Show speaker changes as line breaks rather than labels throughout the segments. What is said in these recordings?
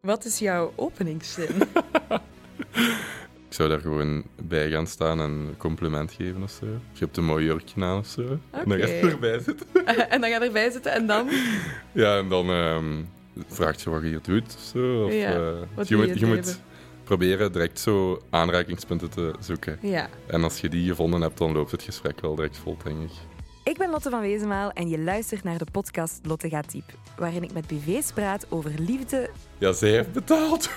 Wat is jouw openingszin?
Ik zou daar gewoon bij gaan staan en een compliment geven of zo. Je hebt een mooi jurkje aan of zo. En dan
Oké.
gaat je erbij zitten.
en dan ga je erbij zitten en dan...
Ja, en dan ehm, vraagt je wat je hier doet of zo. Of,
Ja,
eh,
wat
je
doe je
moet,
het
je moet
leven?
proberen direct zo aanrakingspunten te zoeken.
Ja.
En als je die gevonden hebt, dan loopt het gesprek wel direct vol, denk ik.
Ik ben Lotte van Wezenmaal en je luistert naar de podcast Lotte gaat diep, waarin ik met BV's praat over liefde.
Ja, zij heeft betaald.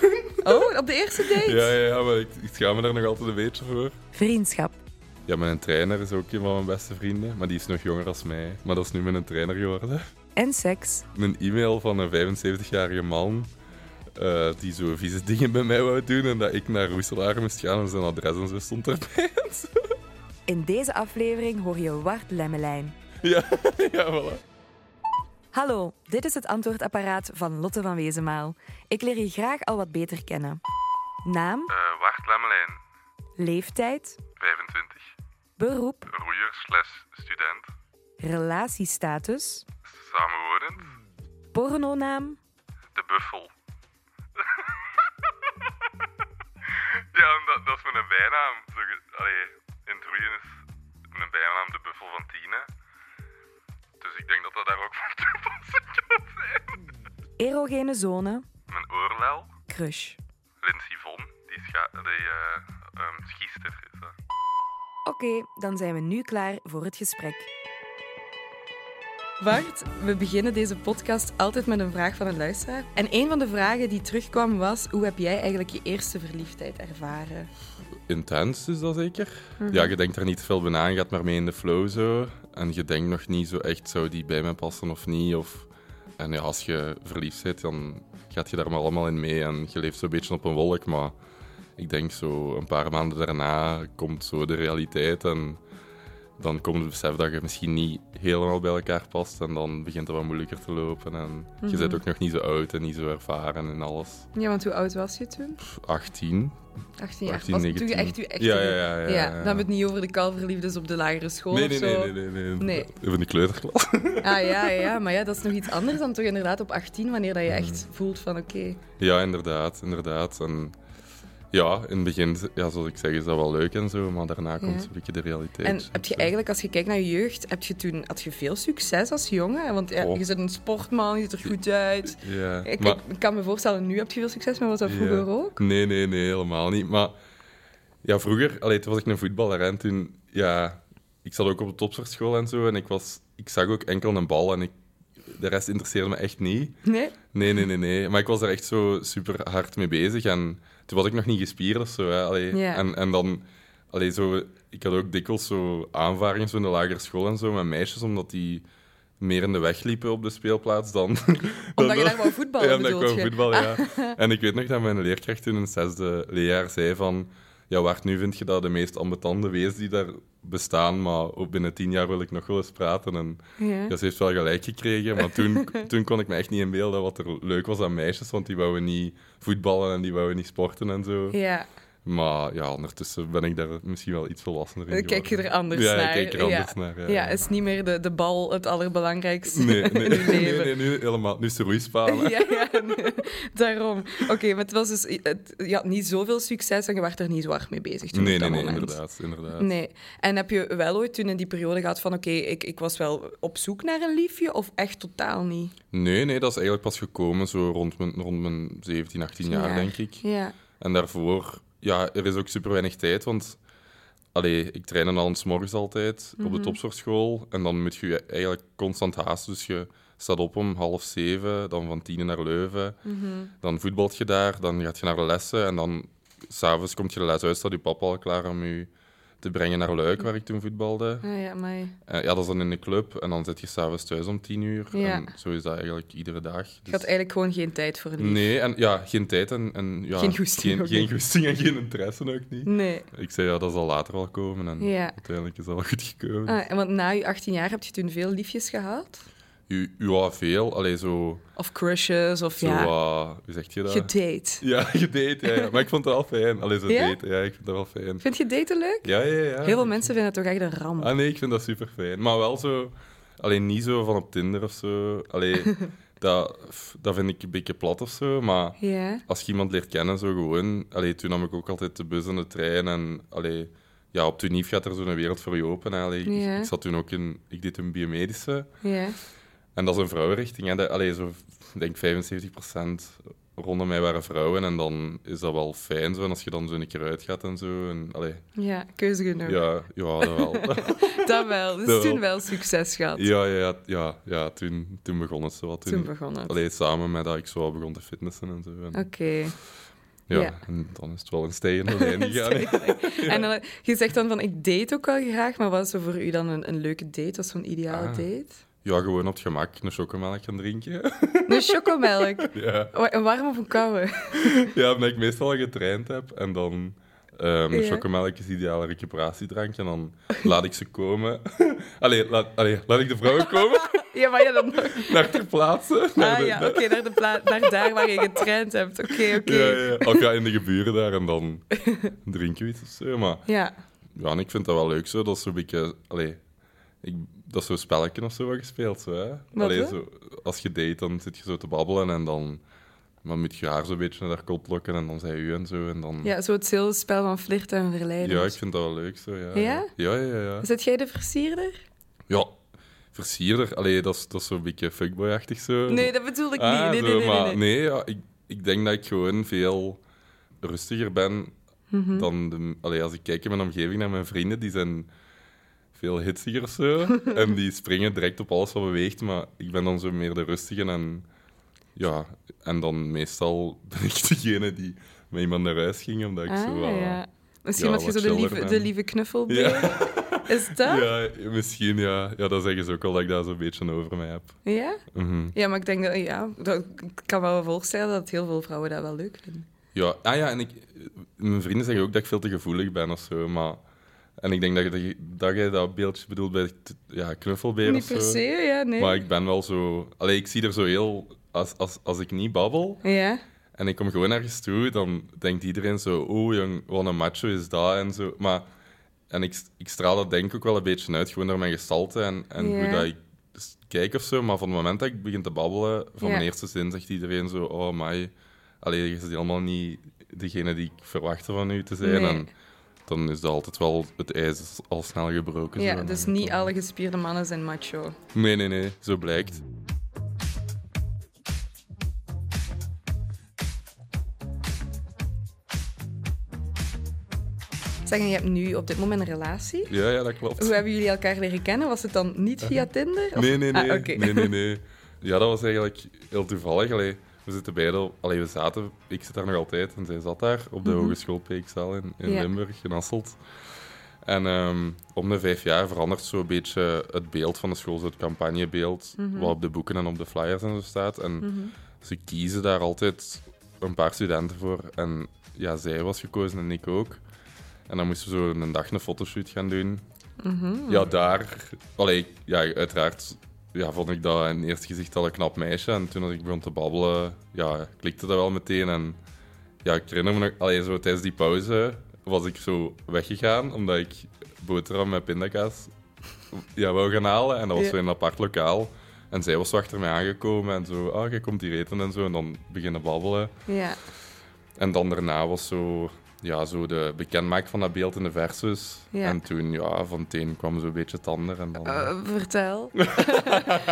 Oh, op de eerste date?
ja, ja, ja, maar ik, ik schaam me daar nog altijd een beetje voor.
Vriendschap.
Ja, mijn trainer is ook een van mijn beste vrienden, maar die is nog jonger dan mij. Maar dat is nu mijn trainer geworden.
En seks.
Een e-mail van een 75-jarige man eh, die zo vieze dingen bij mij wou doen en dat ik naar Roeselaar moest gaan en zijn adres en zo stond erbij. en zo.
In deze aflevering hoor je Wart Lemmelijn.
ja, ja, voilà.
Hallo, dit is het antwoordapparaat van Lotte van Wezenmaal. Ik leer je graag al wat beter kennen. Naam,
Eh, Wacht, Lemmelijn,
leeftijd,
25.
beroep,
Roeier slash student.
relatiestatus,
Samenwonend.
pornonaam,
De buffel. ja, dat, dat is mijn bijnaam. Zo ge- Allee, in het roeien is mijn bijnaam de buffel van Tina. Dus ik denk dat dat daar ook van toepassing kan zijn.
erogene zone,
Mijn oorlel,
crush.
Lindsay Von, die, scha- die eh, ehm, schiester is dat.
Oké, dan zijn we nu klaar voor het gesprek.
Bart, we beginnen deze podcast altijd met een vraag van een luisteraar. En een van de vragen die terugkwam was: hoe heb jij eigenlijk je eerste verliefdheid ervaren?
intens is dat zeker. Ja,
Mhm.
je denkt er niet veel bij na, je gaat maar mee in de flow zo. En je denkt nog niet zo echt, zou die bij mij passen of niet? Of... En ja, als je verliefd bent, dan gaat je daar maar allemaal in mee. En je leeft zo'n beetje op een wolk, maar ik denk zo een paar maanden daarna komt zo de realiteit. En dan komt het besef dat je misschien niet helemaal bij elkaar past. En dan begint het wat moeilijker te lopen. En
Mhm.
je bent ook nog niet zo oud en niet zo ervaren in alles.
Ja, want hoe oud was je toen?
Pff, 18,
18 jaar.
18,
was het toen je
19?
echt je echte...
Ja, ja, ja, ja, ja.
dan hebben we het niet over de kalverliefdes op de lagere school
Nee,
of
nee,
zo.
nee, nee, nee,
Nee.
Even de kleuterklas.
Ah ja, ja, maar ja, dat is nog iets anders dan toch inderdaad op 18, wanneer dat je
Mhm.
echt voelt van oké.
Ja, inderdaad, inderdaad. En ja, in het begin, ja, zoals ik zeg, is dat wel leuk en zo, maar daarna komt een beetje de realiteit.
En heb je eigenlijk, als je kijkt naar je jeugd, heb je toen, had je veel succes als jongen? Want ja,
Oh.
je bent een sportman, je ziet er goed uit.
Ja,
Ik,
maar-
ik kan me voorstellen, nu heb je veel succes, maar was dat vroeger
Ja.
ook?
Nee, nee, nee, helemaal niet. Maar ja, vroeger, allee, toen was ik een voetballer en toen, ja, ik zat ook op de topsportschool en zo en ik, was, ik zag ook enkel een bal en ik, de rest interesseerde me echt niet.
Nee?
Nee, nee, nee, nee. Maar ik was er echt zo super hard mee bezig. En toen was ik nog niet gespierd of zo. Hè. Allee,
Ja.
en, en dan, allee, zo, ik had ook dikwijls zo aanvaringen zo in de lagere school en zo met meisjes, omdat die meer in de weg liepen op de speelplaats dan...
Omdat
dan-
je daar wou voetballen,
Ja, omdat ik
bedoel
wou
je?
voetballen, ja. En ik weet nog dat mijn leerkracht toen in het zesde leerjaar zei van... Ja, Wart, nu vind je dat de meest ambetante wees die daar bestaan, maar ook binnen tien jaar wil ik nog wel eens praten. En
Ja.
ja, ze heeft wel gelijk gekregen, maar toen, toen kon ik me echt niet inbeelden wat er leuk was aan meisjes, want die wouden niet voetballen en die wouden niet sporten en zo.
Ja,
Maar ja, ondertussen ben ik daar misschien wel iets volwassener in
dan kijk je er
geworden.
anders
ja,
naar.
ik kijk er anders naar. Ja,
Ja, is niet meer de, de bal het allerbelangrijkste
Nee, nee,
in je
nee,
leven.
nee, nu helemaal. Nu is de roeispalen.
Ja, ja, nee. daarom. Oké, maar het was dus, het, je had niet zoveel succes en je werd er niet zo hard mee bezig toen
nee,
op
nee,
dat
nee,
moment.
inderdaad. inderdaad.
Nee. En heb je wel ooit toen in die periode gehad van oké, ik, ik was wel op zoek naar een liefje of echt totaal niet?
Nee, nee, dat is eigenlijk pas gekomen zo rond mijn, rond mijn 17, 18 jaar,
Ja.
denk ik.
Ja.
En daarvoor, ja, er is ook super weinig tijd, want allee, ik train dan al 's morgens altijd
Mhm.
op de topsportschool. En dan moet je je eigenlijk constant haasten. Dus je staat op om half zeven, dan van tien naar Leuven.
Mhm.
Dan voetbalt je daar, dan gaat je naar de lessen. En dan s'avonds komt je de les uit, staat je papa al klaar om je te brengen naar Luik, waar ik toen voetbalde.
Ah, ja, maar...
Eh, ja, dat is dan in de club. En dan zit je s'avonds thuis om tien uur.
Ja.
En zo is dat eigenlijk iedere dag.
Ik
Dus-
had eigenlijk gewoon geen tijd voor een liefje.
Nee, en ja, geen tijd en, en ja,
Geen goesting
Geen,
ook
geen
niet.
goesting en geen interesse ook niet.
Nee.
Ik zei, ja, dat zal later wel komen. En
Ja.
uiteindelijk is dat wel goed gekomen.
Ah, en want na je 18 jaar heb je toen veel liefjes gehad?
U, ja, veel. Allee, zo...
Of crushes, of
zo
ja,
wat- hoe zeg je dat?
gedate.
ja, gedate, ja, ja. Maar ik vond het wel fijn. Allee, zo
Ja?
daten, ja, ik vind dat wel fijn.
Vind je daten leuk?
Ja, ja, ja.
Heel veel mensen vinden het toch echt een ramp.
Ah nee, ik vind dat super fijn. Maar wel zo... Alleen niet zo van op Tinder of zo. Allee, dat, dat vind ik een beetje plat of zo, maar
Ja.
als je iemand leert kennen, zo gewoon... Allee, toen nam ik ook altijd de bus en de trein en... Allee, ja, op Tunief gaat er zo'n wereld voor je open. hè. Allee, ik-
Ja.
ik, zat toen ook in... Ik deed een biomedische.
Ja.
En dat is een vrouwenrichting. Hè. Dat- Allee, zo, ik denk 75% rondom mij waren vrouwen. En dan is dat wel fijn zo. En als je dan zo een keer uitgaat en zo. En, allee,
Ja, keuze genomen.
ja, ja, dat wel.
Dat wel. Dus
Dat wel.
toen wel succes gehad.
ja, ja, ja, ja toen, toen begon het zo wat.
Toen begon het.
Allee, samen met dat ik zo al begon te fitnessen en zo. En,
Oké.
ja,
ja.
en dan is het wel een stijgende lijn gegaan. hè.
En dan, je zegt dan van, ik date ook wel graag, maar wat is zo voor u dan een, een leuke date? Wat is zo'n ideale
Ah.
date?
Ja, gewoon op het gemak een chocomelk gaan drinken.
Een chocomelk.
ja.
Wa- Een warm of een koude?
ja, omdat ik meestal al getraind heb. En dan... ehm
Ja.
Chocomelk is ideale recuperatiedrank. En dan laat ik ze komen. allee, laat, allee, laat ik de vrouwen komen.
Ja, maar ja, dan...
naar ter plaatse. Naar
Ah
de-
ja, oké, naar, de pla- naar daar waar je getraind hebt. Oké, oké.
Ja, ja, ja. Of ja, in de geburen daar en dan drinken we iets of zo. Maar
Ja.
ja, en ik vind dat wel leuk zo. Dat is zo'n beetje... Allee, ik, dat is zo'n spelletje of zo wat gespeeld. Zo, hè? Allee,
hè?
zo, als je date, dan zit je zo te babbelen en dan, dan moet je haar zo'n beetje naar haar kop lokken en dan zij u en zo. En dan,
ja, zo het hele spel van flirten en verleiden.
Ja, ik vind dat wel leuk zo, ja.
Ja?
Ja, ja, ja. ja.
Zet jij de versierder?
Ja, versierder. Allee, dat is, dat is zo'n beetje fuckboy-achtig zo.
Nee, dat bedoel ik
Ah,
niet. Nee,
zo,
nee, nee, nee,
maar
nee.
ja, ik, ik denk dat ik gewoon veel rustiger ben
Mhm.
dan... De, allee, als ik kijk in mijn omgeving naar mijn vrienden, die zijn veel hitsiger of zo. en die springen direct op alles wat beweegt, maar ik ben dan zo meer de rustige en... Ja, en dan meestal ben ik degene die met iemand naar huis ging, omdat ik zo... wat-
Ah, ja. Misschien
ja,
was je
wat
zo de
chiller
lieve,
ben.
de lieve knuffel.
Ja,
Is dat? Ja.
ja, misschien, ja. Ja, dat zeggen ze ook al, dat ik daar zo'n beetje over mij heb.
ja?
Mhm.
maar ik denk dat, ja, dat, ik kan me wel voorstellen dat heel veel vrouwen dat wel leuk vinden.
Ja, ah ja, en ik, mijn vrienden zeggen ook dat ik veel te gevoelig ben of zo, maar... En ik denk dat, je- dat jij dat beeldje bedoelt bij t- ja, knuffelbeer of
niet
zo.
per se, ja, nee.
Maar ik ben wel zo... Allee, ik zie er zo heel... Als, als, als ik niet babbel
Ja,
en ik kom gewoon ergens toe, dan denkt iedereen zo... Oh jong, wat een macho is dat en zo. Maar... En ik, ik straal dat denk ik ook wel een beetje uit, gewoon door mijn gestalte en, en
Ja.
hoe dat ik s- kijk of zo. Maar van het moment dat ik begin te babbelen, van
Ja.
mijn eerste zin zegt iedereen zo... Oh my, allee, je bent helemaal niet degene die ik verwachtte van u te zijn.
Nee.
En dan is dat altijd wel... Het ijs is al snel gebroken.
ja
zo.
dus niet alle gespierde mannen zijn macho.
Nee, nee, nee, zo blijkt.
Zeg, en je hebt nu op dit moment een relatie.
Ja, ja, dat klopt.
Hoe hebben jullie elkaar leren kennen? Was het dan niet via Tinder? Of-
Eh, Nee, nee, nee.
Ah, oké.
nee, nee, nee. Ja, dat was eigenlijk heel toevallig. Allee, we zitten beide... Allee, we zaten... Ik zit daar nog altijd en zij zat daar op de Hogeschool PXL in, in
Mhm. Ja.
Limburg, in Hasselt. En ehm, om de vijf jaar verandert zo'n beetje het beeld van de school, zo het campagnebeeld,
Mhm.
wat op de boeken en op de flyers en zo staat. En ze kiezen daar altijd een paar studenten voor. En ja, zij was gekozen en ik ook. En dan moesten we zo een dag een fotoshoot gaan doen. Ja, daar. Allee, ik- ja, uiteraard ja, vond ik dat in eerste gezicht al een knap meisje. En toen als ik begon te babbelen, ja, klikte dat wel meteen. En ja, ik herinner me nog, allee, zo tijdens die pauze was ik zo weggegaan omdat ik boterham met pindakaas ja, wou gaan halen. En dat was
Ja.
zo in een apart lokaal. En zij was zo achter mij aangekomen en zo, ah, jij komt hier eten en zo. En dan beginnen babbelen.
Ja.
En dan daarna was zo, ja, zo de bekendmaak van dat beeld in de versus.
Ja.
En toen, ja, van het een kwam zo'n beetje het ander. En dan...
Eh, vertel.
nee,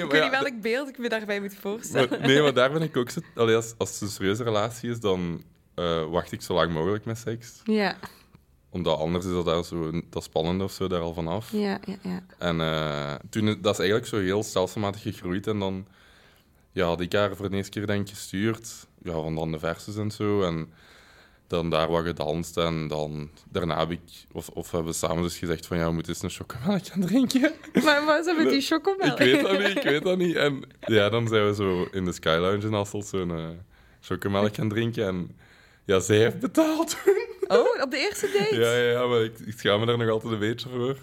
Ik
maar,
weet
ja,
niet welk beeld ik me daarbij moet voorstellen.
maar- nee, maar daar ben ik ook zo... Allee, als, als het een serieuze relatie is, dan eh, wacht ik zo lang mogelijk met seks.
Ja,
Omdat anders is dat daar zo, dat spannende of zo daar al vanaf.
ja, ja. ja.
En eh, toen, dat is eigenlijk zo heel stelselmatig gegroeid. En dan ja, had ik haar voor de eerste keer denk ik gestuurd. Ja, van dan de verses en zo. En dan daar wat gedanst. En dan daarna heb ik, of, of hebben we samen dus gezegd van ja, we moeten eens een chocomelk gaan drinken.
Maar wat is dat met die chocomelk?
ik weet dat niet, ik weet dat niet. En ja, dan zijn we zo in de Sky Lounge in Hasselt zo'n eh, chocomelk gaan drinken. En ja, zij heeft betaald
Oh, op de eerste date?
ja, ja, ja, maar ik, ik schaam me daar nog altijd een beetje voor.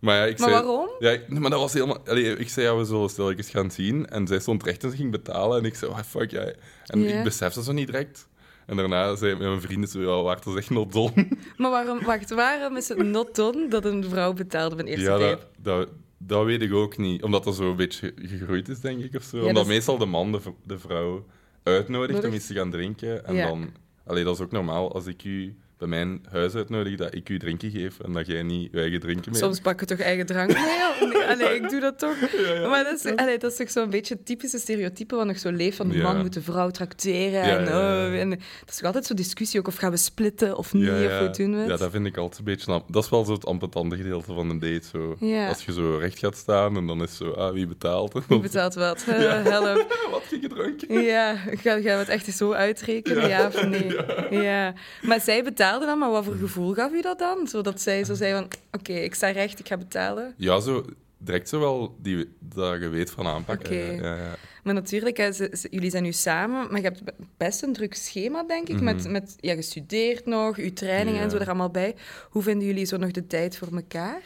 Maar, ja, ik
Maar
zei,
waarom?
Ja, ik- nee, maar dat was helemaal... Allee, ik zei, ja, we zullen stilletjes gaan zien. En zij stond recht en ze ging betalen. En ik zei, ah, fuck, jij. En
Ja.
ik besefte zo niet direct. En daarna zei mijn vrienden zo, ja, waar is echt nog dol.
Maar waarom, wacht, waarom is het not done dat een vrouw betaalt op een eerste
Ja,
date?
dat, dat, Dat weet ik ook niet. Omdat dat zo een beetje gegroeid is, denk ik, of zo.
Ja,
Omdat
dat is-
meestal de man de, v- de vrouw uitnodigt
Nodig.
om iets te gaan drinken. En
Ja.
dan... Allee, dat is ook normaal als ik u bij mijn huis uitnodig, dat ik u drinken geef en dat jij niet je eigen drinken mee
Soms pak je toch eigen drank mee? of niet? Allee, ik doe dat toch? Maar dat is, allee, dat is toch zo'n beetje het typische stereotype wat nog zo leeft van de
Ja.
man moet de vrouw tracteren.
Ja,
en,
ja, ja.
oh, en dat is toch altijd zo'n discussie ook, of gaan we splitten of niet, of hoe doen we het?
Ja, dat vind ik altijd een beetje... am- Dat is wel zo het ampetante gedeelte van een date. Zo.
Ja.
Als je zo recht gaat staan en dan is zo, ah, wie betaalt? En
Wie
dan,
betaalt wat? Eh, Help.
wat heb je gedronken?
Ja, gaan, gaan we het echt eens zo uitrekenen, ja, of nee? Ja. Maar zij betaalde dan, maar wat voor gevoel gaf u dat dan? Zodat zij zo zei van, oké, ik sta recht, ik ga betalen.
Ja, zo direct zo wel die, dat je weet van aanpak.
Oké.
Ja, ja, ja.
Maar natuurlijk, hè, ze- ze- jullie zijn nu samen, maar je hebt be- best een druk schema, denk ik. Met, met ja, gestudeerd nog, uw training en
Mhm. Ja.
zo er allemaal bij. Hoe vinden jullie zo nog de tijd voor elkaar?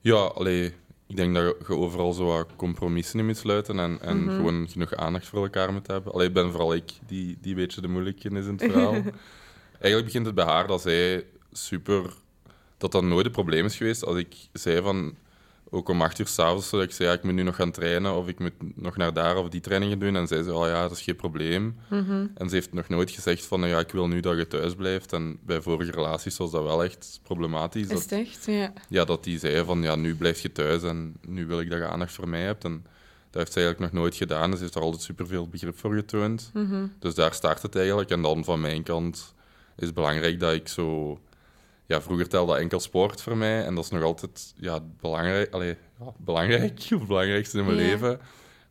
Ja, allee, ik denk dat je overal zo wat compromissen in moet sluiten en, en gewoon genoeg aandacht voor elkaar moet hebben. Alleen ben vooral ik die, die een beetje de moeilijke is in het verhaal. Eigenlijk begint het bij haar dat zij super... Dat dat nooit een probleem is geweest als ik zei van... Ook om acht uur s'avonds, dat ik zei, ja, ik moet nu nog gaan trainen of ik moet nog naar daar of die trainingen doen. En zij zei, oh ja, dat is geen probleem. En ze heeft nog nooit gezegd van, nou ja, ik wil nu dat je thuis blijft. En bij vorige relaties was dat wel echt problematisch. dat-
Is het echt? Ja.
ja, dat die zei van ja, nu blijf je thuis en nu wil ik dat je aandacht voor mij hebt. En dat heeft ze eigenlijk nog nooit gedaan. Dus ze heeft daar altijd superveel begrip voor getoond. Dus daar start het eigenlijk. En dan van mijn kant is het belangrijk dat ik zo. Ja, vroeger telde dat enkel sport voor mij. En dat is nog altijd ja, belangrijk, allee, ja, belangrijk of het belangrijkste in mijn
Ja.
leven.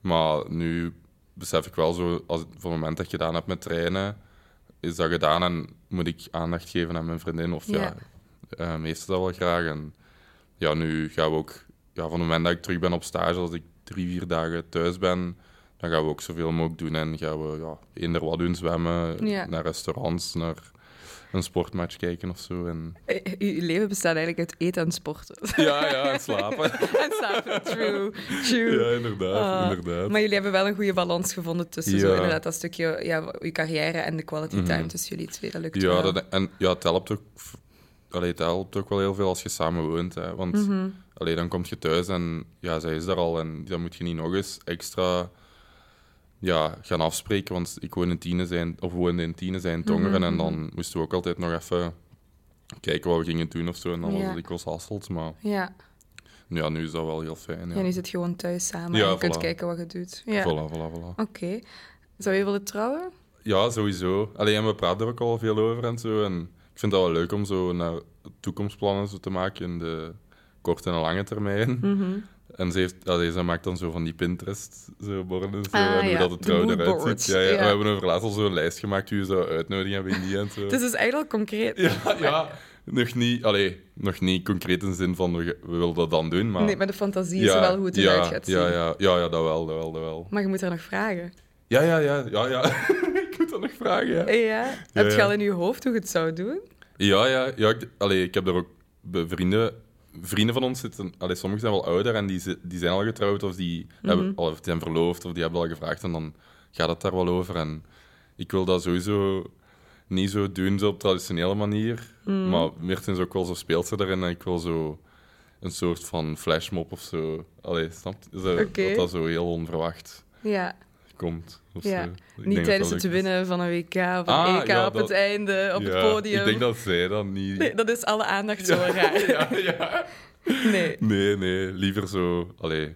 Maar nu besef ik wel zo, als, voor het moment dat ik gedaan heb met trainen, is dat gedaan en moet ik aandacht geven aan mijn vriendin. Of ja,
Ja.
eh, meestal dat wel graag. En ja, nu gaan we ook, ja, van het moment dat ik terug ben op stage, als ik drie, vier dagen thuis ben, dan gaan we ook zoveel mogelijk doen. En gaan we ja, eender wat doen, zwemmen,
Ja.
naar restaurants, naar een sportmatch kijken of zo. En...
Eh, eh, Uw leven bestaat eigenlijk uit eten en sporten.
Ja, ja, en slapen.
en slapen, true, true.
ja, inderdaad,
Ah,
inderdaad.
Maar jullie hebben wel een goede balans gevonden tussen zo,
Ja. Mhm.
inderdaad, dat stukje ja, uw carrière en de quality time tussen jullie twee. Dat lukt
Ja,
wel.
dat, en ja, het helpt ook. Allee, het helpt ook wel heel veel als je samen woont. Hè, want
Mhm.
allee, dan kom je thuis en ja, zij is daar al. En dan moet je niet nog eens extra ja, gaan afspreken. Want ik woon in Tiene zijn, of woonde in Tiene zijn Tongeren.
Mhm,
En dan moesten we ook altijd nog even kijken wat we gingen doen of zo. En dan was
Ja.
het ik was Hasselt. Maar
Ja.
ja, nu is dat wel heel fijn. Ja,
ja, nu zit je gewoon thuis samen
Ja,
en je kunt
voilà.
kijken wat je doet. Ja. Oké.
Voilà, voilà, voilà.
Zou je willen trouwen?
Ja, sowieso. Alleen en we praten er ook al veel over en zo. En ik vind dat wel leuk om zo naar toekomstplannen zo te maken in de korte en lange termijn.
Mhm.
En ze, heeft, ja, deze maakt dan zo van die Pinterest-borden en zo,
Ah,
en hoe
ja,
dat het
de
trouw eruit
moodboards,
ziet. Ja, ja.
ja.
We hebben over laatst al zo'n lijst gemaakt die we zou uitnodigen hebben in die en zo.
Het is dus eigenlijk al concreet.
ja, ja, nog niet, allee, nog niet concreet in de zin van we, ge- we willen dat dan doen, maar...
Nee, maar de fantasie is
ja,
wel hoe het
ja,
eruit gaat zien.
Ja, ja, ja, ja, dat wel, dat wel, dat wel.
Maar je moet er nog vragen.
Ja, ja, ja, ja, ja. ik moet dat nog vragen, ja.
Ja. Heb je
ja.
al in je hoofd hoe je het zou doen?
Ja, ja, ja ik, allee, ik heb daar ook bij vrienden. Vrienden van ons zitten, allee, sommigen zijn wel ouder en die, zi- die zijn al getrouwd of die,
Mhm.
hebben, of die zijn verloofd of die hebben al gevraagd en dan gaat het daar wel over. En ik wil dat sowieso niet zo doen zo op traditionele manier,
Mhm.
maar Mirten is ook wel zo speelt ze daarin en ik wil zo een soort van flashmob of zo. Allee, snap je? Zo-
Oké.
Dat dat zo heel onverwacht
Ja,
komt. Of
Ja,
zo. Ik denk dat
niet
dat
tijdens
leuk
het
is.
winnen van een WK of een
Ah,
EK
ja,
op
dat-
het einde, op
Ja,
het podium.
Ik denk dat zij dat niet...
Nee, dat is alle aandacht zo raar.
Ja, ja.
Nee.
Nee, nee, liever zo. Allee.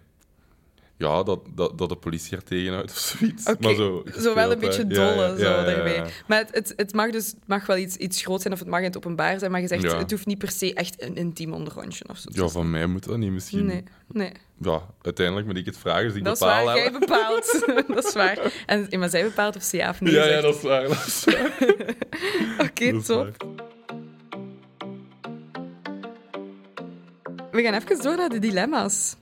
Ja, dat, dat, dat de politie er tegenuit of zoiets.
Oké,
Maar zo,
zo wel een
gespeeld,
beetje
hè.
dolle
Ja, ja,
zo
ja, ja, ja.
daarbij. Maar het, het, het mag dus het mag wel iets, iets groots zijn of het mag in het openbaar zijn, maar je zegt
Ja.
het hoeft niet per se echt een intiem ondergrondje of zo. te
Ja, van mij moet dat niet misschien.
zijn. nee, nee.
Ja, uiteindelijk moet ik het vragen, dus ik
Dat is
bepaal.
waar,
hè.
jij bepaalt. dat is waar. En, maar zij bepaalt of ze ja of nee
ja, ja,
zegt.
dat is waar. Dat is waar.
Oké,
dat is
top.
waar.
We gaan even door naar de dilemma's.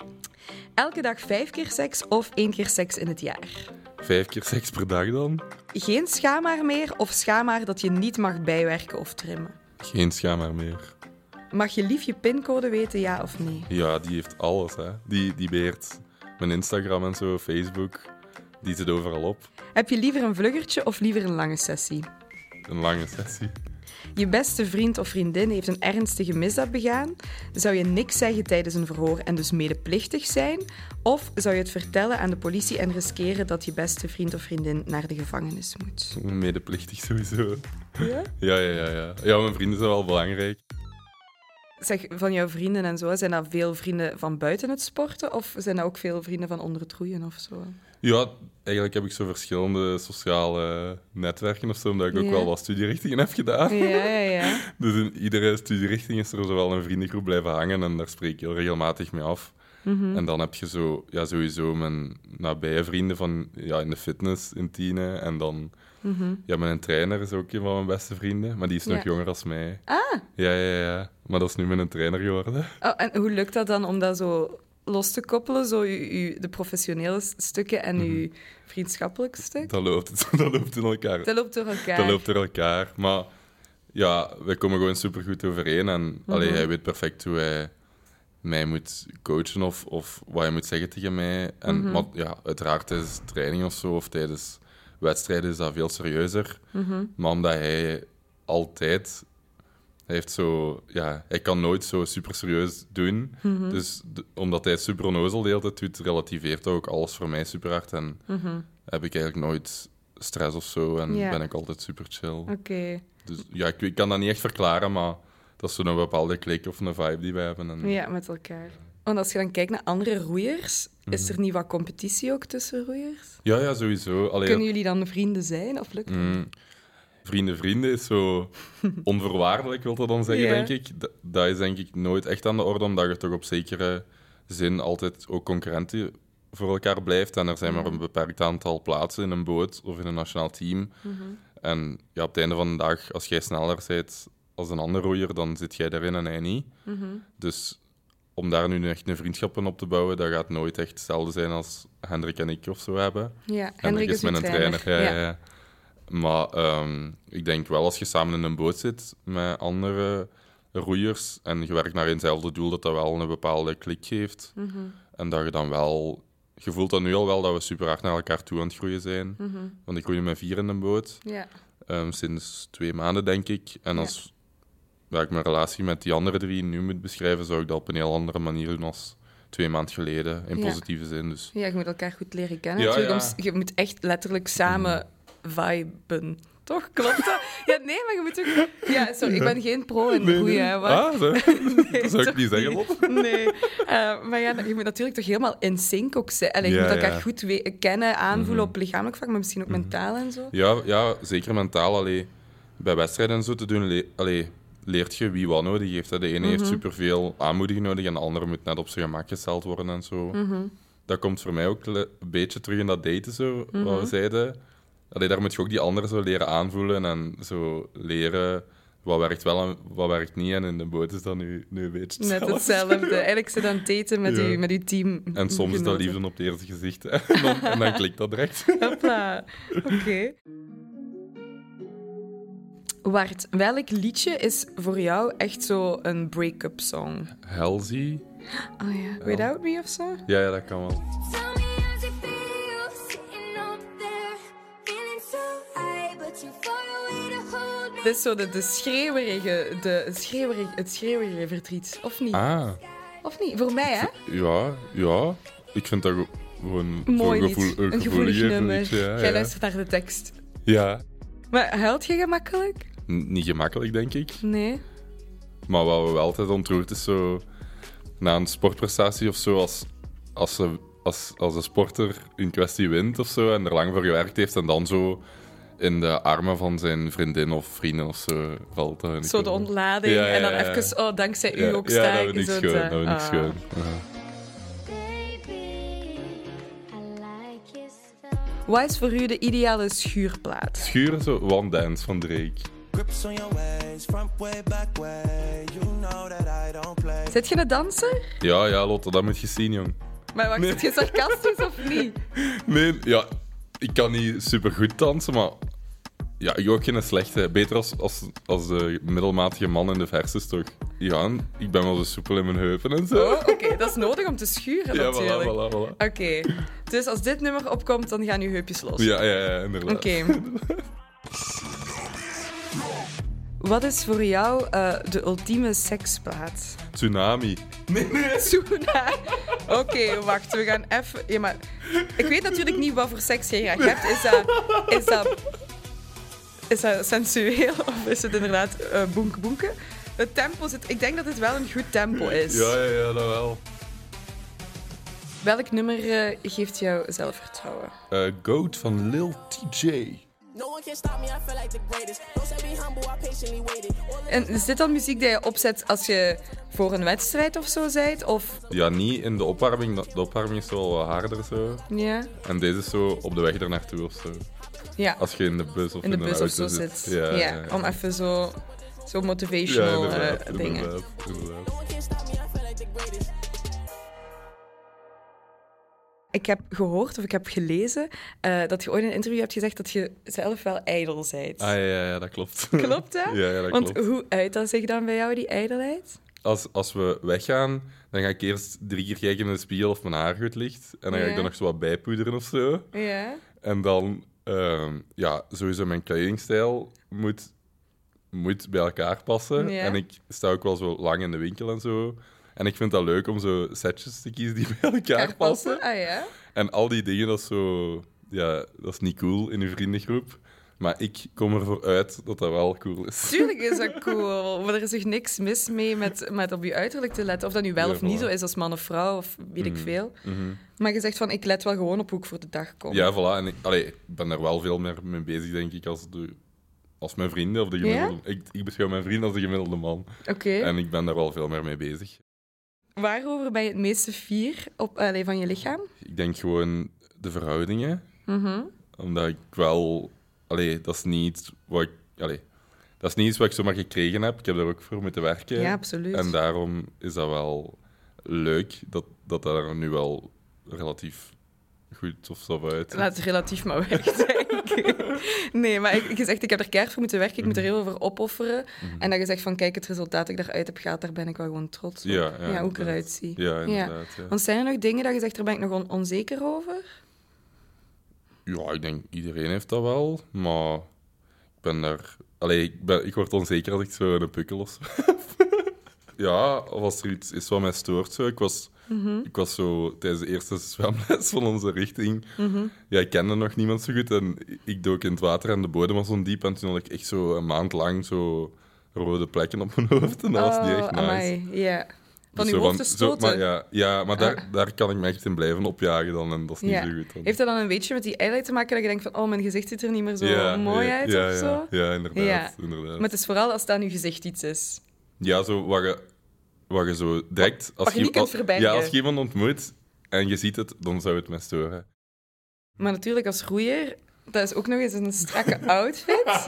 Elke dag vijf keer seks of één keer seks in het jaar.
Vijf keer seks per dag dan?
Geen schaamhaar meer of schaamhaar dat je niet mag bijwerken of trimmen.
Geen schaamhaar meer.
Mag je lief je pincode weten, ja of nee?
Ja, die heeft alles, hè. Die, die beheert mijn Instagram en zo, Facebook. Die zit overal op.
Heb je liever een vluggertje of liever een lange sessie?
Een lange sessie.
Je beste vriend of vriendin heeft een ernstige misdaad begaan. Zou je niks zeggen tijdens een verhoor en dus medeplichtig zijn? Of zou je het vertellen aan de politie en riskeren dat je beste vriend of vriendin naar de gevangenis moet?
Medeplichtig sowieso.
Ja?
Ja, ja, ja, ja. Ja, mijn vrienden zijn wel belangrijk.
Zeg, van jouw vrienden en zo, zijn dat veel vrienden van buiten het sporten? Of zijn dat ook veel vrienden van onder het roeien of zo?
Ja, eigenlijk heb ik zo verschillende sociale netwerken of zo, omdat ik ook
Ja.
wel wat studierichtingen heb gedaan.
Ja, ja, ja.
Dus in iedere studierichting is er zo wel een vriendengroep blijven hangen en daar spreek ik heel regelmatig mee af.
Mhm.
En dan heb je zo, ja, sowieso mijn nabije vrienden van, ja, in de fitness in Tiene. En dan, ja, mijn trainer is ook een van mijn beste vrienden, maar die is nog
Mhm. Ja.
jonger als mij.
Ah,
Ja, ja, ja. Maar dat is nu mijn trainer geworden.
oh, en hoe lukt dat dan om dat zo los te koppelen? Zo u, u- de professionele s- stukken en uw
Mhm.
vriendschappelijk stuk?
Dat loopt, dat loopt in elkaar.
Dat loopt door elkaar.
Dat loopt door elkaar. Maar ja, wij komen gewoon supergoed overeen. En
Mhm.
allee, hij weet perfect hoe hij mij moet coachen of, of wat hij moet zeggen tegen mij. En
Mhm.
maar, ja, uiteraard tijdens training of zo, of tijdens wedstrijden is dat veel serieuzer.
Mhm,
Maar omdat hij altijd... Hij, heeft zo, ja, hij kan nooit zo super serieus doen.
mhm,
Dus d- omdat hij super onnozel de hele tijd doet, relativeert dat ook alles voor mij super hard. En
mhm.
heb ik eigenlijk nooit stress of zo en
Ja.
ben ik altijd super chill.
Oké.
Dus ja, ik, ik kan dat niet echt verklaren, maar dat is zo'n bepaalde klik of een vibe die wij hebben. En,
Ja, met elkaar. Want als je dan kijkt naar andere roeiers, is
Mhm.
er niet wat competitie ook tussen roeiers?
ja, ja, sowieso. Allee,
Kunnen jullie dan vrienden zijn of lukt dat?
mm, vrienden, vrienden is zo onvoorwaardelijk, wil dat dan zeggen,
Ja.
denk ik. Dat, dat is denk ik nooit echt aan de orde, omdat je toch op zekere zin altijd ook concurrenten voor elkaar blijft. En er zijn maar een beperkt aantal plaatsen in een boot of in een nationaal team. En ja, op het einde van de dag, als jij sneller bent als een ander roeier, dan zit jij daarin en hij niet. Dus om daar nu echt een vriendschap in op te bouwen, dat gaat nooit echt hetzelfde zijn als Hendrik en ik of zo hebben.
Ja,
Hendrik is
mijn
met een trainer. Ja, ja. ja. Maar ehm, ik denk wel, als je samen in een boot zit met andere roeiers en je werkt naar eenzelfde doel, dat dat wel een bepaalde klik geeft. En dat je dan wel... Je voelt dat nu al wel, dat we super hard naar elkaar toe aan het groeien zijn. Want ik groei met vier in een boot,
Ja.
ehm, sinds twee maanden, denk ik. En als ja, ik mijn relatie met die andere drie nu moet beschrijven, zou ik dat op een heel andere manier doen als twee maanden geleden, in
Ja.
positieve zin. Dus
Ja, je moet elkaar goed leren kennen.
Ja,
natuurlijk,
ja.
om s- je moet echt letterlijk samen viben. Toch? Klopt dat? Ja, nee, maar je moet ook... Ja, sorry, ik ben geen pro in
Nee,
roeien.
nee.
hè, maar-
Ah, zo.
Nee,
dat zou
toch
ik niet zeggen, Bob.
Nee. Eh, maar ja, je moet natuurlijk toch helemaal in sync ook zijn. Allee, je
Ja,
moet elkaar
ja. Mhm.
goed we- kennen, aanvoelen op lichamelijk vlak, maar misschien ook mentaal en zo.
Ja, ja, zeker mentaal. Allee, bij wedstrijden en zo te doen, le- allee, leert je wie wat nodig heeft. hè. De ene
Mhm.
heeft superveel aanmoediging nodig en de andere moet net op zijn gemak gesteld worden en zo.
Mhm.
Dat komt voor mij ook le- een beetje terug in dat daten, zo, wat
Mhm.
we zeiden. Allee, daar moet je ook die anderen zo leren aanvoelen en zo leren wat werkt wel en wat werkt niet. En in de boot is dat nu, nu een beetje
Net hetzelfde. Eigenlijk ze dan daten met,
Ja.
uw, met uw team.
En soms is dat
Genoten.
liefde op het eerste gezicht. hè. En dan, en dan klikt dat direct.
Hopla. Oké. Wart, welk liedje is voor jou echt zo een break-up song?
Halsey?
Oh ja, Without Me of zo?
Ja, ja, dat kan wel.
Tell me how's it feel sitting up there, feeling so high, but too far away to hold me.
Dit is zo de, de schreeuwerige, de schreeuwerig, het schreeuwerige verdriet. Of niet?
Ah,
Of niet? Voor mij, hè?
ja, ja. Ik vind dat ge- gewoon
Mooi
zo'n
lied.
gevoel-
een, gevoelig
gevoeliger
nummer.
liedje, ja,
Jij
ja.
luistert naar de tekst.
Ja.
Maar huilt je gemakkelijk?
N- niet gemakkelijk, denk ik.
Nee.
Maar wat we wel altijd ontroert is zo... Na een sportprestatie of zo, als, als, ze, als, als de sporter in kwestie wint of zo en er lang voor gewerkt heeft en dan zo in de armen van zijn vriendin of vrienden of zo valt. dat vind ik
Zo de
wel-
ontlading.
Ja, ja,
En dan
ja, ja.
even, oh, dankzij u
Ja,
ook
ja,
sta
dat
ik
vind
in
ik
zo'n...
schoon. Dat
eh,
vind ik
ah.
schoon. Ja.
Baby, I like your style.
Wat is voor u de ideale schuurplaats?
Schuren zo One Dance van Drake.
Grips on your ways, front way, back way. You know that I don't play.
Zit je een danser?
Ja, ja, Lotte, dat moet je zien, jong.
Maar wacht, zit je sarcastisch of niet?
Nee, ja, ik kan niet supergoed dansen, maar ja, ik ook geen slechte. Beter als, als, als de middelmatige man in de verses, toch? Ja, en ik ben wel zo soepel in mijn heupen en zo.
Oh, Oké, dat is nodig om te schuren
ja,
natuurlijk.
voilà, voilà, voilà.
Oké, dus als dit nummer opkomt, dan gaan uw heupjes los.
Ja, ja, ja, inderdaad.
Oké. Wat is voor jou eh, de ultieme seksplaat?
Tsunami.
Tsunami. Oké, wacht. We gaan even... Ja, maar... Ik weet natuurlijk niet wat voor seks je graag hebt. Is dat... Is dat, is dat sensueel? Of is het inderdaad eh boenke boenke? Het tempo zit... Ik denk dat het wel een goed tempo is.
Ja, ja, ja, dat wel.
Welk nummer eh, geeft jou zelfvertrouwen?
Eh, Goat van Lil TJ.
No one can stop me, I feel like the greatest. Don't say be humble, I patiently waited. All
En is dit dan muziek die je opzet als je voor een wedstrijd of zo bent? Of...
Ja, niet in de opwarming. dat- De opwarming is wel wat harder zo.
Ja.
En deze is zo op de weg ernaartoe of zo.
Ja.
Als je in de bus of
in
in,
de
een
bus of zo
auto
zit.
Ja,
Ja, om even zo, zo motivational eh,
inderdaad,
dingen.
inderdaad, inderdaad.
one can stop me, I feel like the greatest.
Ik heb gehoord of ik heb gelezen eh, dat je ooit in een interview hebt gezegd dat je zelf wel ijdel bent.
Ah ja, ja, ja, dat klopt.
Klopt dat?
Ja, ja, dat
Want
klopt.
hoe uit dat zich dan bij jou, die ijdelheid?
Als, als we weggaan, dan ga ik eerst drie keer kijken in de spiegel of mijn haar goed ligt. En dan ga
Ja.
ik er nog zo wat bijpoederen of zo.
Ja.
En dan, ehm, ja, sowieso mijn kledingstijl moet, moet bij elkaar passen.
Ja.
En ik sta ook wel zo lang in de winkel en zo. En ik vind dat leuk om zo setjes te kiezen die bij elkaar passen.
Ah ja?
En al die dingen, dat is zo... Ja, dat is niet cool in uw vriendengroep. Maar ik kom ervoor uit dat dat wel cool is.
Tuurlijk is dat cool. Maar er is toch niks mis mee met, met op je uiterlijk te letten. Of dat nu wel
Ja,
of niet
voilà. Mhm.
zo is als man of vrouw, of weet ik veel. Maar je zegt van, ik let wel gewoon op hoe ik voor de dag kom.
Ja, voilà. En ik, allee, ik ben er wel veel meer mee bezig, denk ik, als, de, als mijn vrienden. Of de gemiddelde, ik, ik beschouw mijn vrienden als de gemiddelde man.
Oké.
En ik ben daar wel veel meer mee bezig.
Waarover ben je het meeste fier op, allee, van je lichaam?
Ik denk gewoon de verhoudingen.
Mhm.
Omdat ik wel... Allee, dat is niet iets wat ik... Allee, dat is niet iets wat ik zomaar gekregen heb. Ik heb daar ook voor moeten werken.
Ja, absoluut.
En daarom is dat wel leuk dat dat daar nu wel relatief goed of zo uit.
Laat het relatief maar weg zijn. nee, maar ik, je zegt, ik heb er keihard voor moeten werken. Ik moet
Mhm.
er heel veel voor opofferen. En dat je zegt van, kijk, het resultaat dat ik daaruit heb gehaald, daar ben ik wel gewoon trots op.
Ja, ja,
hoe ik
inderdaad.
eruit zie.
Ja, inderdaad. Ja.
Want zijn er nog dingen dat je zegt, daar ben ik nog on- onzeker over?
Ja, ik denk iedereen heeft dat wel, maar ik ben daar... Allee, ik, ben, ik word onzeker als ik zo een pukkel of zo heb. Ja, of als er iets is wat mij stoort. Zo. Ik, was,
Mhm.
ik was zo tijdens de eerste zwemles van onze richting.
Mhm.
Ja, ik kende nog niemand zo goed. En ik dook in het water en de bodem was ondiep. En toen had ik echt zo een maand lang zo rode plekken op mijn hoofd. En dat was niet echt nice.
Oh, amai, ja. Van
Dus
uw
zo
hoofd te
zo-
stoten. Ah.
maar ja, ja, maar daar, daar kan ik me echt in blijven opjagen dan. En dat is niet
Ja.
zo goed. Dan.
Heeft dat dan een beetje met die eyelid te maken dat je denkt van, oh, mijn gezicht ziet er niet meer zo mooi
ja,
uit
ja,
of
ja.
zo?
Ja, inderdaad.
Ja.
inderdaad.
Maar het is vooral als dat aan uw gezicht iets is.
Ja, zo waar je, waar je zo direct... Als
je niet kunt
als-
verbergen.
Ja, als je iemand ontmoet en je ziet het, dan zou het me storen.
Maar natuurlijk als roeier, dat is ook nog eens een strakke outfit.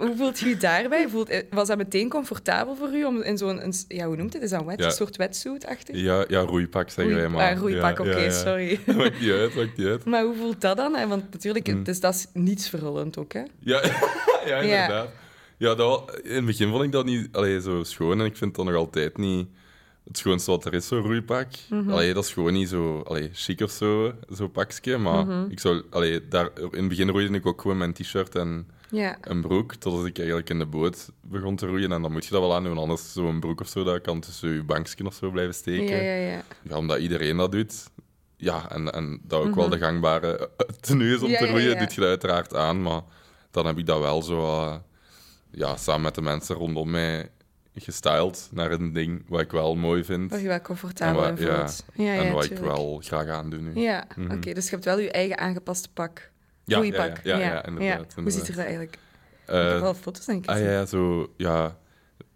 Hoe voelt u daarbij? Voelt, eh, was dat meteen comfortabel voor u om in zo'n, een, ja, hoe noemt het? Is dat een wet,
Ja.
een soort wetsuit-achtig?
Ja, ja roeipak zeggen
Roei-
wij maar.
ah, roeipak,
Ja,
oké,
ja, ja.
sorry.
Maakt niet uit, maakt niet uit.
Maar hoe voelt dat dan? hè? Want natuurlijk,
Mm.
het is dat is nietsverhullend ook, hè?
Ja, ja inderdaad. Ja, dat, wa- in het begin vond ik dat niet allee, zo schoon en ik vind dat nog altijd niet het schoonste wat er is, zo'n roeipak.
Mhm.
Allee, dat is gewoon niet zo allee, chic of zo, zo'n pakje. Maar
Mhm.
ik zou, allee, daar, in het begin roeide ik ook gewoon mijn t-shirt en
Ja.
een broek, totdat ik eigenlijk in de boot begon te roeien. En dan moet je dat wel aan doen, anders zo'n broek of zo, dat kan tussen je bankje of zo blijven
Ja,
steken.
ja, ja.
Ja, omdat iedereen dat doet. Ja, en, en dat ook wel de gangbare eh, tenue is om
Mhm. Ja,
te
ja,
roeien,
ja.
doet je dat uiteraard aan. Maar dan heb ik dat wel zo, eh, ja, samen met de mensen rondom mij gestyled naar een ding wat ik wel mooi vind.
Waar je wel comfortabel
wa-
in
ja,
voelt. Ja, ja,
en wat ik
tuurlijk.
wel graag aandoe nu.
Ja, oké. dus je hebt wel je eigen aangepaste pak.
Ja,
Roeipak.
ja, ja, ja, ja, inderdaad,
Hoe
inderdaad.
ziet er dat eigenlijk? Ik
Eh,
heb wel foto's, denk ik.
Ah ja, ja, zo, ja.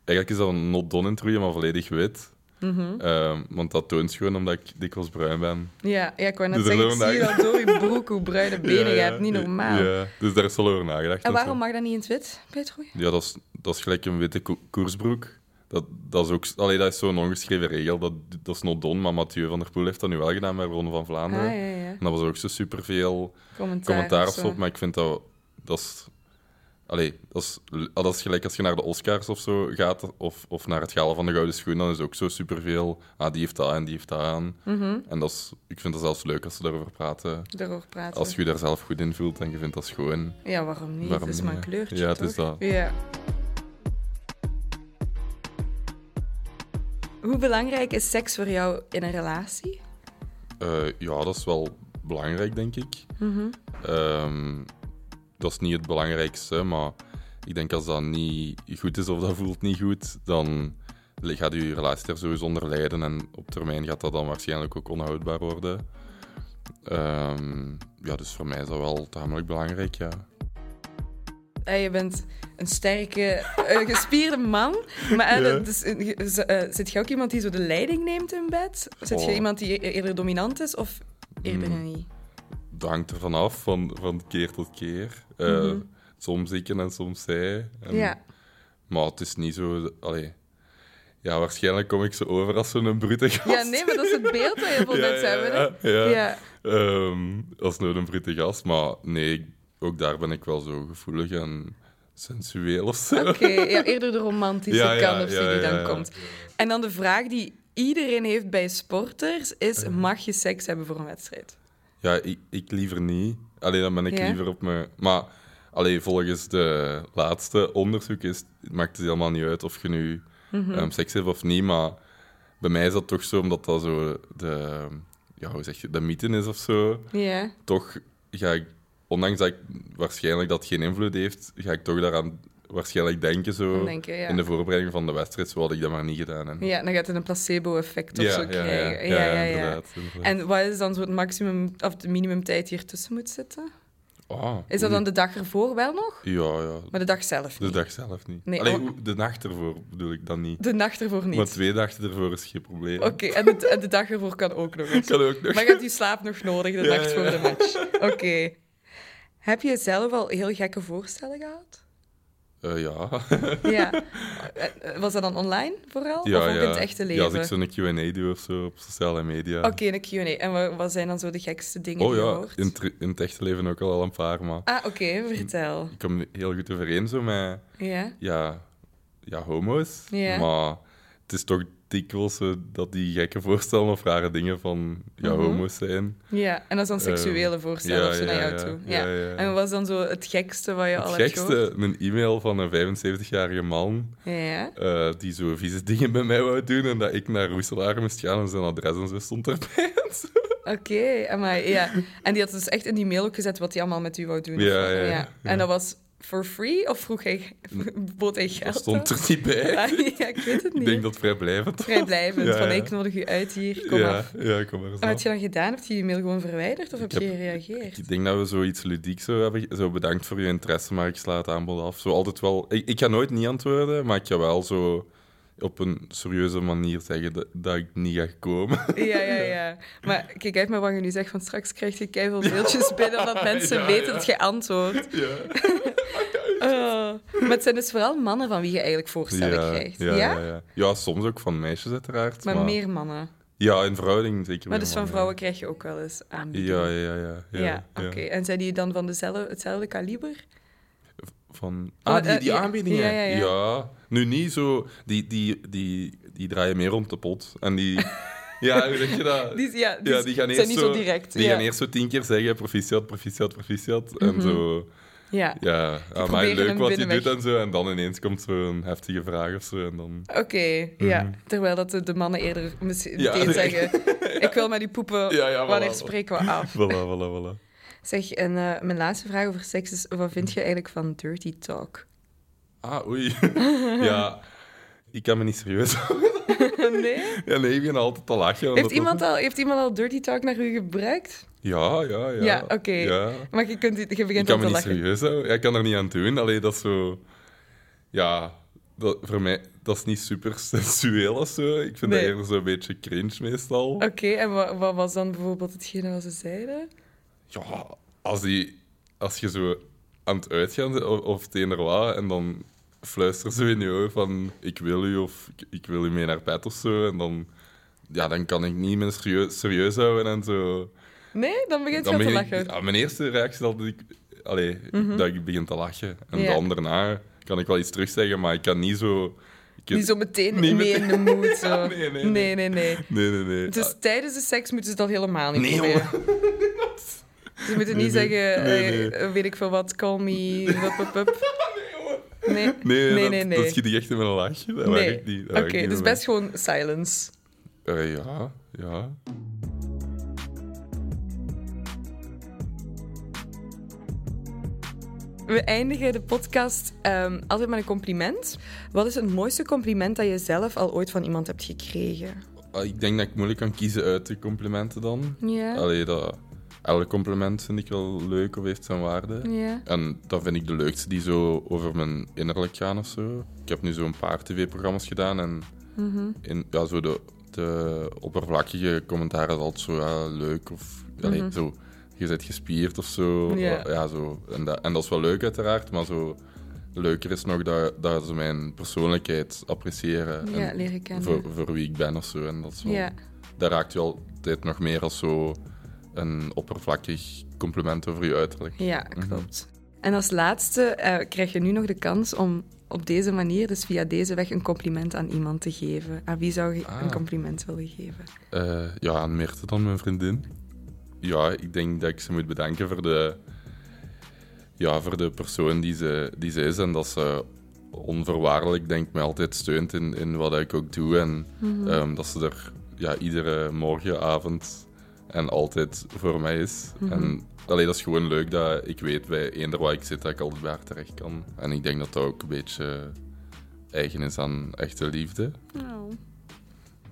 Eigenlijk is dat een not done in het roeien, maar volledig wit.
Mhm.
Ehm, want dat toont gewoon omdat ik dikwijls bruin ben.
ja, ja, ik wou net
Dus er
zeggen, ik
zijn
zie
vandaag-
dat door je broek, hoe bruine benen
Ja,
je
ja,
hebt. Niet
ja,
normaal.
Ja, dus daar is wel over nagedacht.
En waarom
zo.
mag dat niet in het wit, Petro?
Ja, dat is, dat is gelijk een witte ko- koersbroek. Dat, dat is ook... Allee, dat is zo'n ongeschreven regel. Dat, dat is not done, maar Mathieu van der Poel heeft dat nu wel gedaan bij Ronde van Vlaanderen.
Ah, ja, ja.
En dat was ook zo superveel
Commentaar,
commentaar
of
of
zo.
zo. Maar ik vind dat... Dat is... Allee, dat is, ah, dat is gelijk als je naar de Oscars of zo gaat, of, of naar het Gala van de Gouden Schoen, dan is ook zo superveel. Ah, die heeft dat en die heeft dat aan. En dat is, ik vind dat zelfs leuk als ze daarover praten.
Daarover praten.
Als je je daar zelf goed in voelt en je vindt dat schoon,
Ja, waarom niet?
Waarom
het is
niet,
maar een
hè?
kleurtje,
Ja, het is
toch?
dat.
Ja. Hoe belangrijk is seks voor jou in een relatie?
Eh, ja, dat is wel belangrijk, denk ik. Ehm, dat is niet het belangrijkste, maar ik denk als dat niet goed is of dat voelt niet goed, dan li- gaat je relatie er sowieso onder lijden en op termijn gaat dat dan waarschijnlijk ook onhoudbaar worden. Ehm, ja, dus voor mij is dat wel tamelijk belangrijk, ja.
Eh, je bent een sterke, eh, gespierde man. Maar eh,
Ja.
dat is een ge- z- eh, zit je ook iemand die zo de leiding neemt in bed? Zit je
Oh. Hmm.
iemand die e- eerder dominant is of eerder niet?
Dat hangt ervan af, van, van keer tot keer. Eh, Soms ik en soms zij. En
Ja.
Maar het is niet zo. Allee. Ja, waarschijnlijk kom ik zo over als zo'n brute gast.
ja, nee, maar dat is het beeld dat heel veel
Ja,
mensen
ja,
hebben. hè?
ja, ja.
Ja.
Ehm, als nou een brute gast. Maar nee, ik- ook daar ben ik wel zo gevoelig en sensueel of zo.
Oké, ja, eerder de romantische
Ja, ja,
kant of zo
ja,
die dan
ja, ja.
komt. En dan de vraag die iedereen heeft bij sporters is:
Ehm.
mag je seks hebben voor een wedstrijd?
Ja, ik, ik liever niet. Alleen dan ben ik
Ja?
liever op mijn. Maar allee, volgens de laatste onderzoek is, het maakt het helemaal niet uit of je nu
Mhm.
ehm, seks hebt of niet. Maar bij mij is dat toch zo, omdat dat zo de, ja, hoe zeg je, de mythe is of zo.
Ja.
toch ga ik, ondanks dat ik waarschijnlijk dat geen invloed heeft, ga ik toch daaraan waarschijnlijk denken zo.
Dan denken, ja.
In de voorbereiding van de wedstrijd, zo had ik dat maar niet gedaan. En...
Ja, dan gaat het een placebo-effect of
Ja,
zo
ja,
krijgen.
ja. Ja, inderdaad, inderdaad.
En wat is dan zo het maximum of de minimumtijd die ertussen moet zitten?
Ah,
Is dat dan de dag ervoor wel nog?
Ja, ja.
Maar de dag zelf
De
niet.
dag zelf niet.
Nee,
Allee,
oh.
hoe- de nacht ervoor bedoel ik dan niet.
De nacht ervoor niet.
Maar twee dagen ervoor is geen probleem.
Oké, en, de, en de dag ervoor kan ook nog. eens.
Kan ook nog.
Maar je hebt je slaap nog nodig de
Ja,
nacht
ja,
voor
ja.
de match. Oké. Heb je zelf al heel gekke voorstellen gehad?
Eh, ja.
Ja. Eh, eh, Was dat dan online vooral?
ja,
of ook
ja.
in het echte
Ja,
leven?
als ik zo'n Q&A doe of zo op sociale media.
Oké, een Q&A. En wa- wat zijn dan zo de gekste dingen
oh
die je
ja,
hoort?
in, het re- in het echte leven ook al een paar, maar
Ah, oké, vertel.
ik kom heel goed overeen zo met...
Ja?
ja, ja homo's.
Ja.
Maar het is toch dikwijls eh, dat die gekke voorstellen of rare dingen van ja,
Mhm.
homo's zijn.
Ja, en dat is dan seksuele
Eh,
voorstellen
ja,
of zo naar
ja,
jou
ja,
toe. Ja.
ja, ja.
En wat was dan zo het gekste wat je al
Het
hebt gehoord?
gekste, een e-mail van een 75-jarige man
Ja.
eh, die zo vieze dingen bij mij wou doen en dat ik naar Roeselaar moest gaan en zijn adres en zo stond erbij. en zo.
Oké, amai, ja. En die had dus echt in die mail ook gezet wat hij allemaal met u wou doen.
Ja,
of wat,
ja,
En dat was for free of vroeg hij, bood hij geld
Dat stond
aan?
er niet bij.
Ah, ja, ik weet het niet.
Ik denk dat vrijblijvend. was.
Vrijblijvend,
Ja,
van
ja.
ik nodig u uit hier, kom
ja,
af.
Ja, kom maar eens
Wat
af.
had je dan gedaan? Heb je die mail gewoon verwijderd of heb,
heb-
je gereageerd?
Ik denk dat we zoiets ludiek zo hebben. Zo bedankt voor je interesse, maar ik sla het aanbod af. Zo altijd wel. Ik, ik ga nooit niet antwoorden, maar ik ga wel zo op een serieuze manier zeggen dat, dat ik niet ga komen.
Ja, ja, ja. Maar kijk uit maar wat je nu zegt, want straks krijg je keihard mailtjes binnen omdat mensen
Ja,
weten
ja.
dat je antwoordt.
Ja.
Oh. Maar het zijn dus vooral mannen van wie je eigenlijk voorstellen krijgt. Ja?
ja, ja, ja. Ja, soms ook van meisjes uiteraard.
Maar, meer mannen.
Ja, in verhouding zeker.
Maar
meer
dus van
mannen.
vrouwen krijg je ook wel eens aanbiedingen.
Ja, ja, ja. Ja,
Ja,
ja,
oké. En zijn die dan van dezelfde, hetzelfde kaliber?
Van, ah,
eh,
die, die
ja,
aanbiedingen.
ja,
Ja,
ja, ja.
nu niet zo. Die, die, die, die draaien meer rond de pot. En die. Ja, hoe zeg je dat?
Die, ja, die,
Ja, die gaan eerst
Dus zijn niet zo, direct.
Die
ja.
gaan eerst zo tien keer zeggen, proficiat, proficiat, proficiat. En zo,
Ja.
ja, amai,
proberen
leuk
hem
wat je
binnenweg.
doet en zo. En dan ineens komt zo'n heftige vraag of zo. En dan...
Oké, ja. Terwijl dat de, de mannen eerder misschien
Mhm. Ja,
meteen
nee.
zeggen... Ik wil maar die poepen,
Ja, ja, voilà.
wanneer spreken we af?
Voilà, voilà, voilà.
Zeg, en eh, mijn laatste vraag over seks is: wat vind je eigenlijk van dirty talk?
Ah, oei. ja, ik kan me niet serieus houden.
nee?
Ja, nee, ik ben altijd te lachen. omdat
Heeft
dat-
iemand, al, heeft iemand al dirty talk naar u gebruikt?
Ja, ja, ja.
Ja, oké.
Ja.
Maar je, kunt, je
Ik
begint
kan
al
me
te
niet
lachen.
serieus houden. Ja, ik kan er niet aan doen. Allee, dat is zo... Ja, dat, voor mij... Dat is niet super sensueel of zo. Ik vind
Nee.
dat eerder zo'n beetje cringe meestal.
Oké, en wa- wat, was dan bijvoorbeeld hetgene wat ze zeiden?
Ja, als, die, als je zo aan het uitgaan bent, of, of het een er wat, en dan fluistert ze in je oor van ik wil u of ik, ik wil u mee naar bed of zo. En dan, ja, dan kan ik niet meer serieus, serieus houden en zo.
Nee, dan begint je
Dan
al
Ah,
te
begin ik-
lachen. Mhm.
ja, mijn eerste reactie is dat ik, allee, dat ik begin te lachen. En
Ja.
dan daarna kan ik wel iets terugzeggen, maar ik kan niet zo... ik-
Niet zo meteen
Niet
mee in de moed. Zo.
Ja,
nee,
nee,
nee,
nee,
nee,
Nee, nee, nee.
Dus
Ah,
tijdens de seks moeten ze dat helemaal niet
nee,
proberen.
jongen.
Ze moeten niet
Nee, nee.
zeggen,
Nee,
eh, weet ik veel wat, call me, wup, wup, wup.
Nee, jongen.
Nee,
Nee,
nee,
dat,
nee. nee.
dat schiet ik echt in mijn lachje. Dat
Nee.
werkt niet. dat
Oké,
werkt niet
dus
bij
best gewoon silence.
mij. Eh, ja, ja.
We eindigen de podcast ehm, altijd met een compliment. Wat is het mooiste compliment dat je zelf al ooit van iemand hebt gekregen?
Ah, Ik denk dat ik moeilijk kan kiezen uit de complimenten dan.
Ja.
Allee, dat, elk compliment vind ik wel leuk of heeft zijn waarde.
Ja.
En dat vind ik de leukste die zo over mijn innerlijk gaan of zo. Ik heb nu zo'n paar tv-programma's gedaan en
Mhm.
in, ja, zo de, de oppervlakkige commentaren is altijd zo ja, leuk of allee, zo, je bent gespierd of zo.
Mhm. Ja.
zo. En, dat, en dat is wel leuk uiteraard, maar zo leuker is nog dat, dat ze mijn persoonlijkheid appreciëren.
Ja,
en
leren kennen.
Eh, Voor, voor wie ik ben of zo. En dat, is wel,
Ja.
dat raakt je altijd nog meer als zo een oppervlakkig compliment over je uiterlijk.
Ja,
Mhm.
klopt. En als laatste eh, krijg je nu nog de kans om op deze manier, dus via deze weg, een compliment aan iemand te geven. Aan wie zou je
Ah.
een compliment willen geven?
Eh, ja, aan Mirte dan, mijn vriendin. Ja, ik denk dat ik ze moet bedanken voor de, ja, voor de persoon die ze, die ze is. En dat ze onvoorwaardelijk, denk ik, mij altijd steunt in, in wat ik ook doe. En ehm, dat ze er ja, iedere morgenavond en altijd voor mij is. En alleen dat is gewoon leuk dat ik weet bij eender waar ik zit dat ik altijd bij haar terecht kan. En ik denk dat dat ook een beetje eigen is aan echte liefde.
Nou,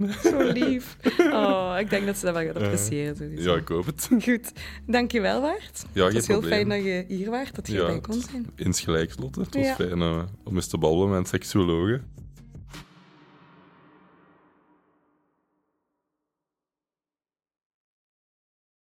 Zo lief. Oh, ik denk dat ze dat wel gaat appreciëren. sowieso.
Ja, ik hoop het.
Goed, dankjewel Waart.
Ja,
het
geen
was heel fijn
probleem.
dat je hier waart, dat je
Ja,
bij kon zijn.
Insgelijks, Lotte. Het was
Ja.
fijn eh, om eens te babbelen met een seksologe.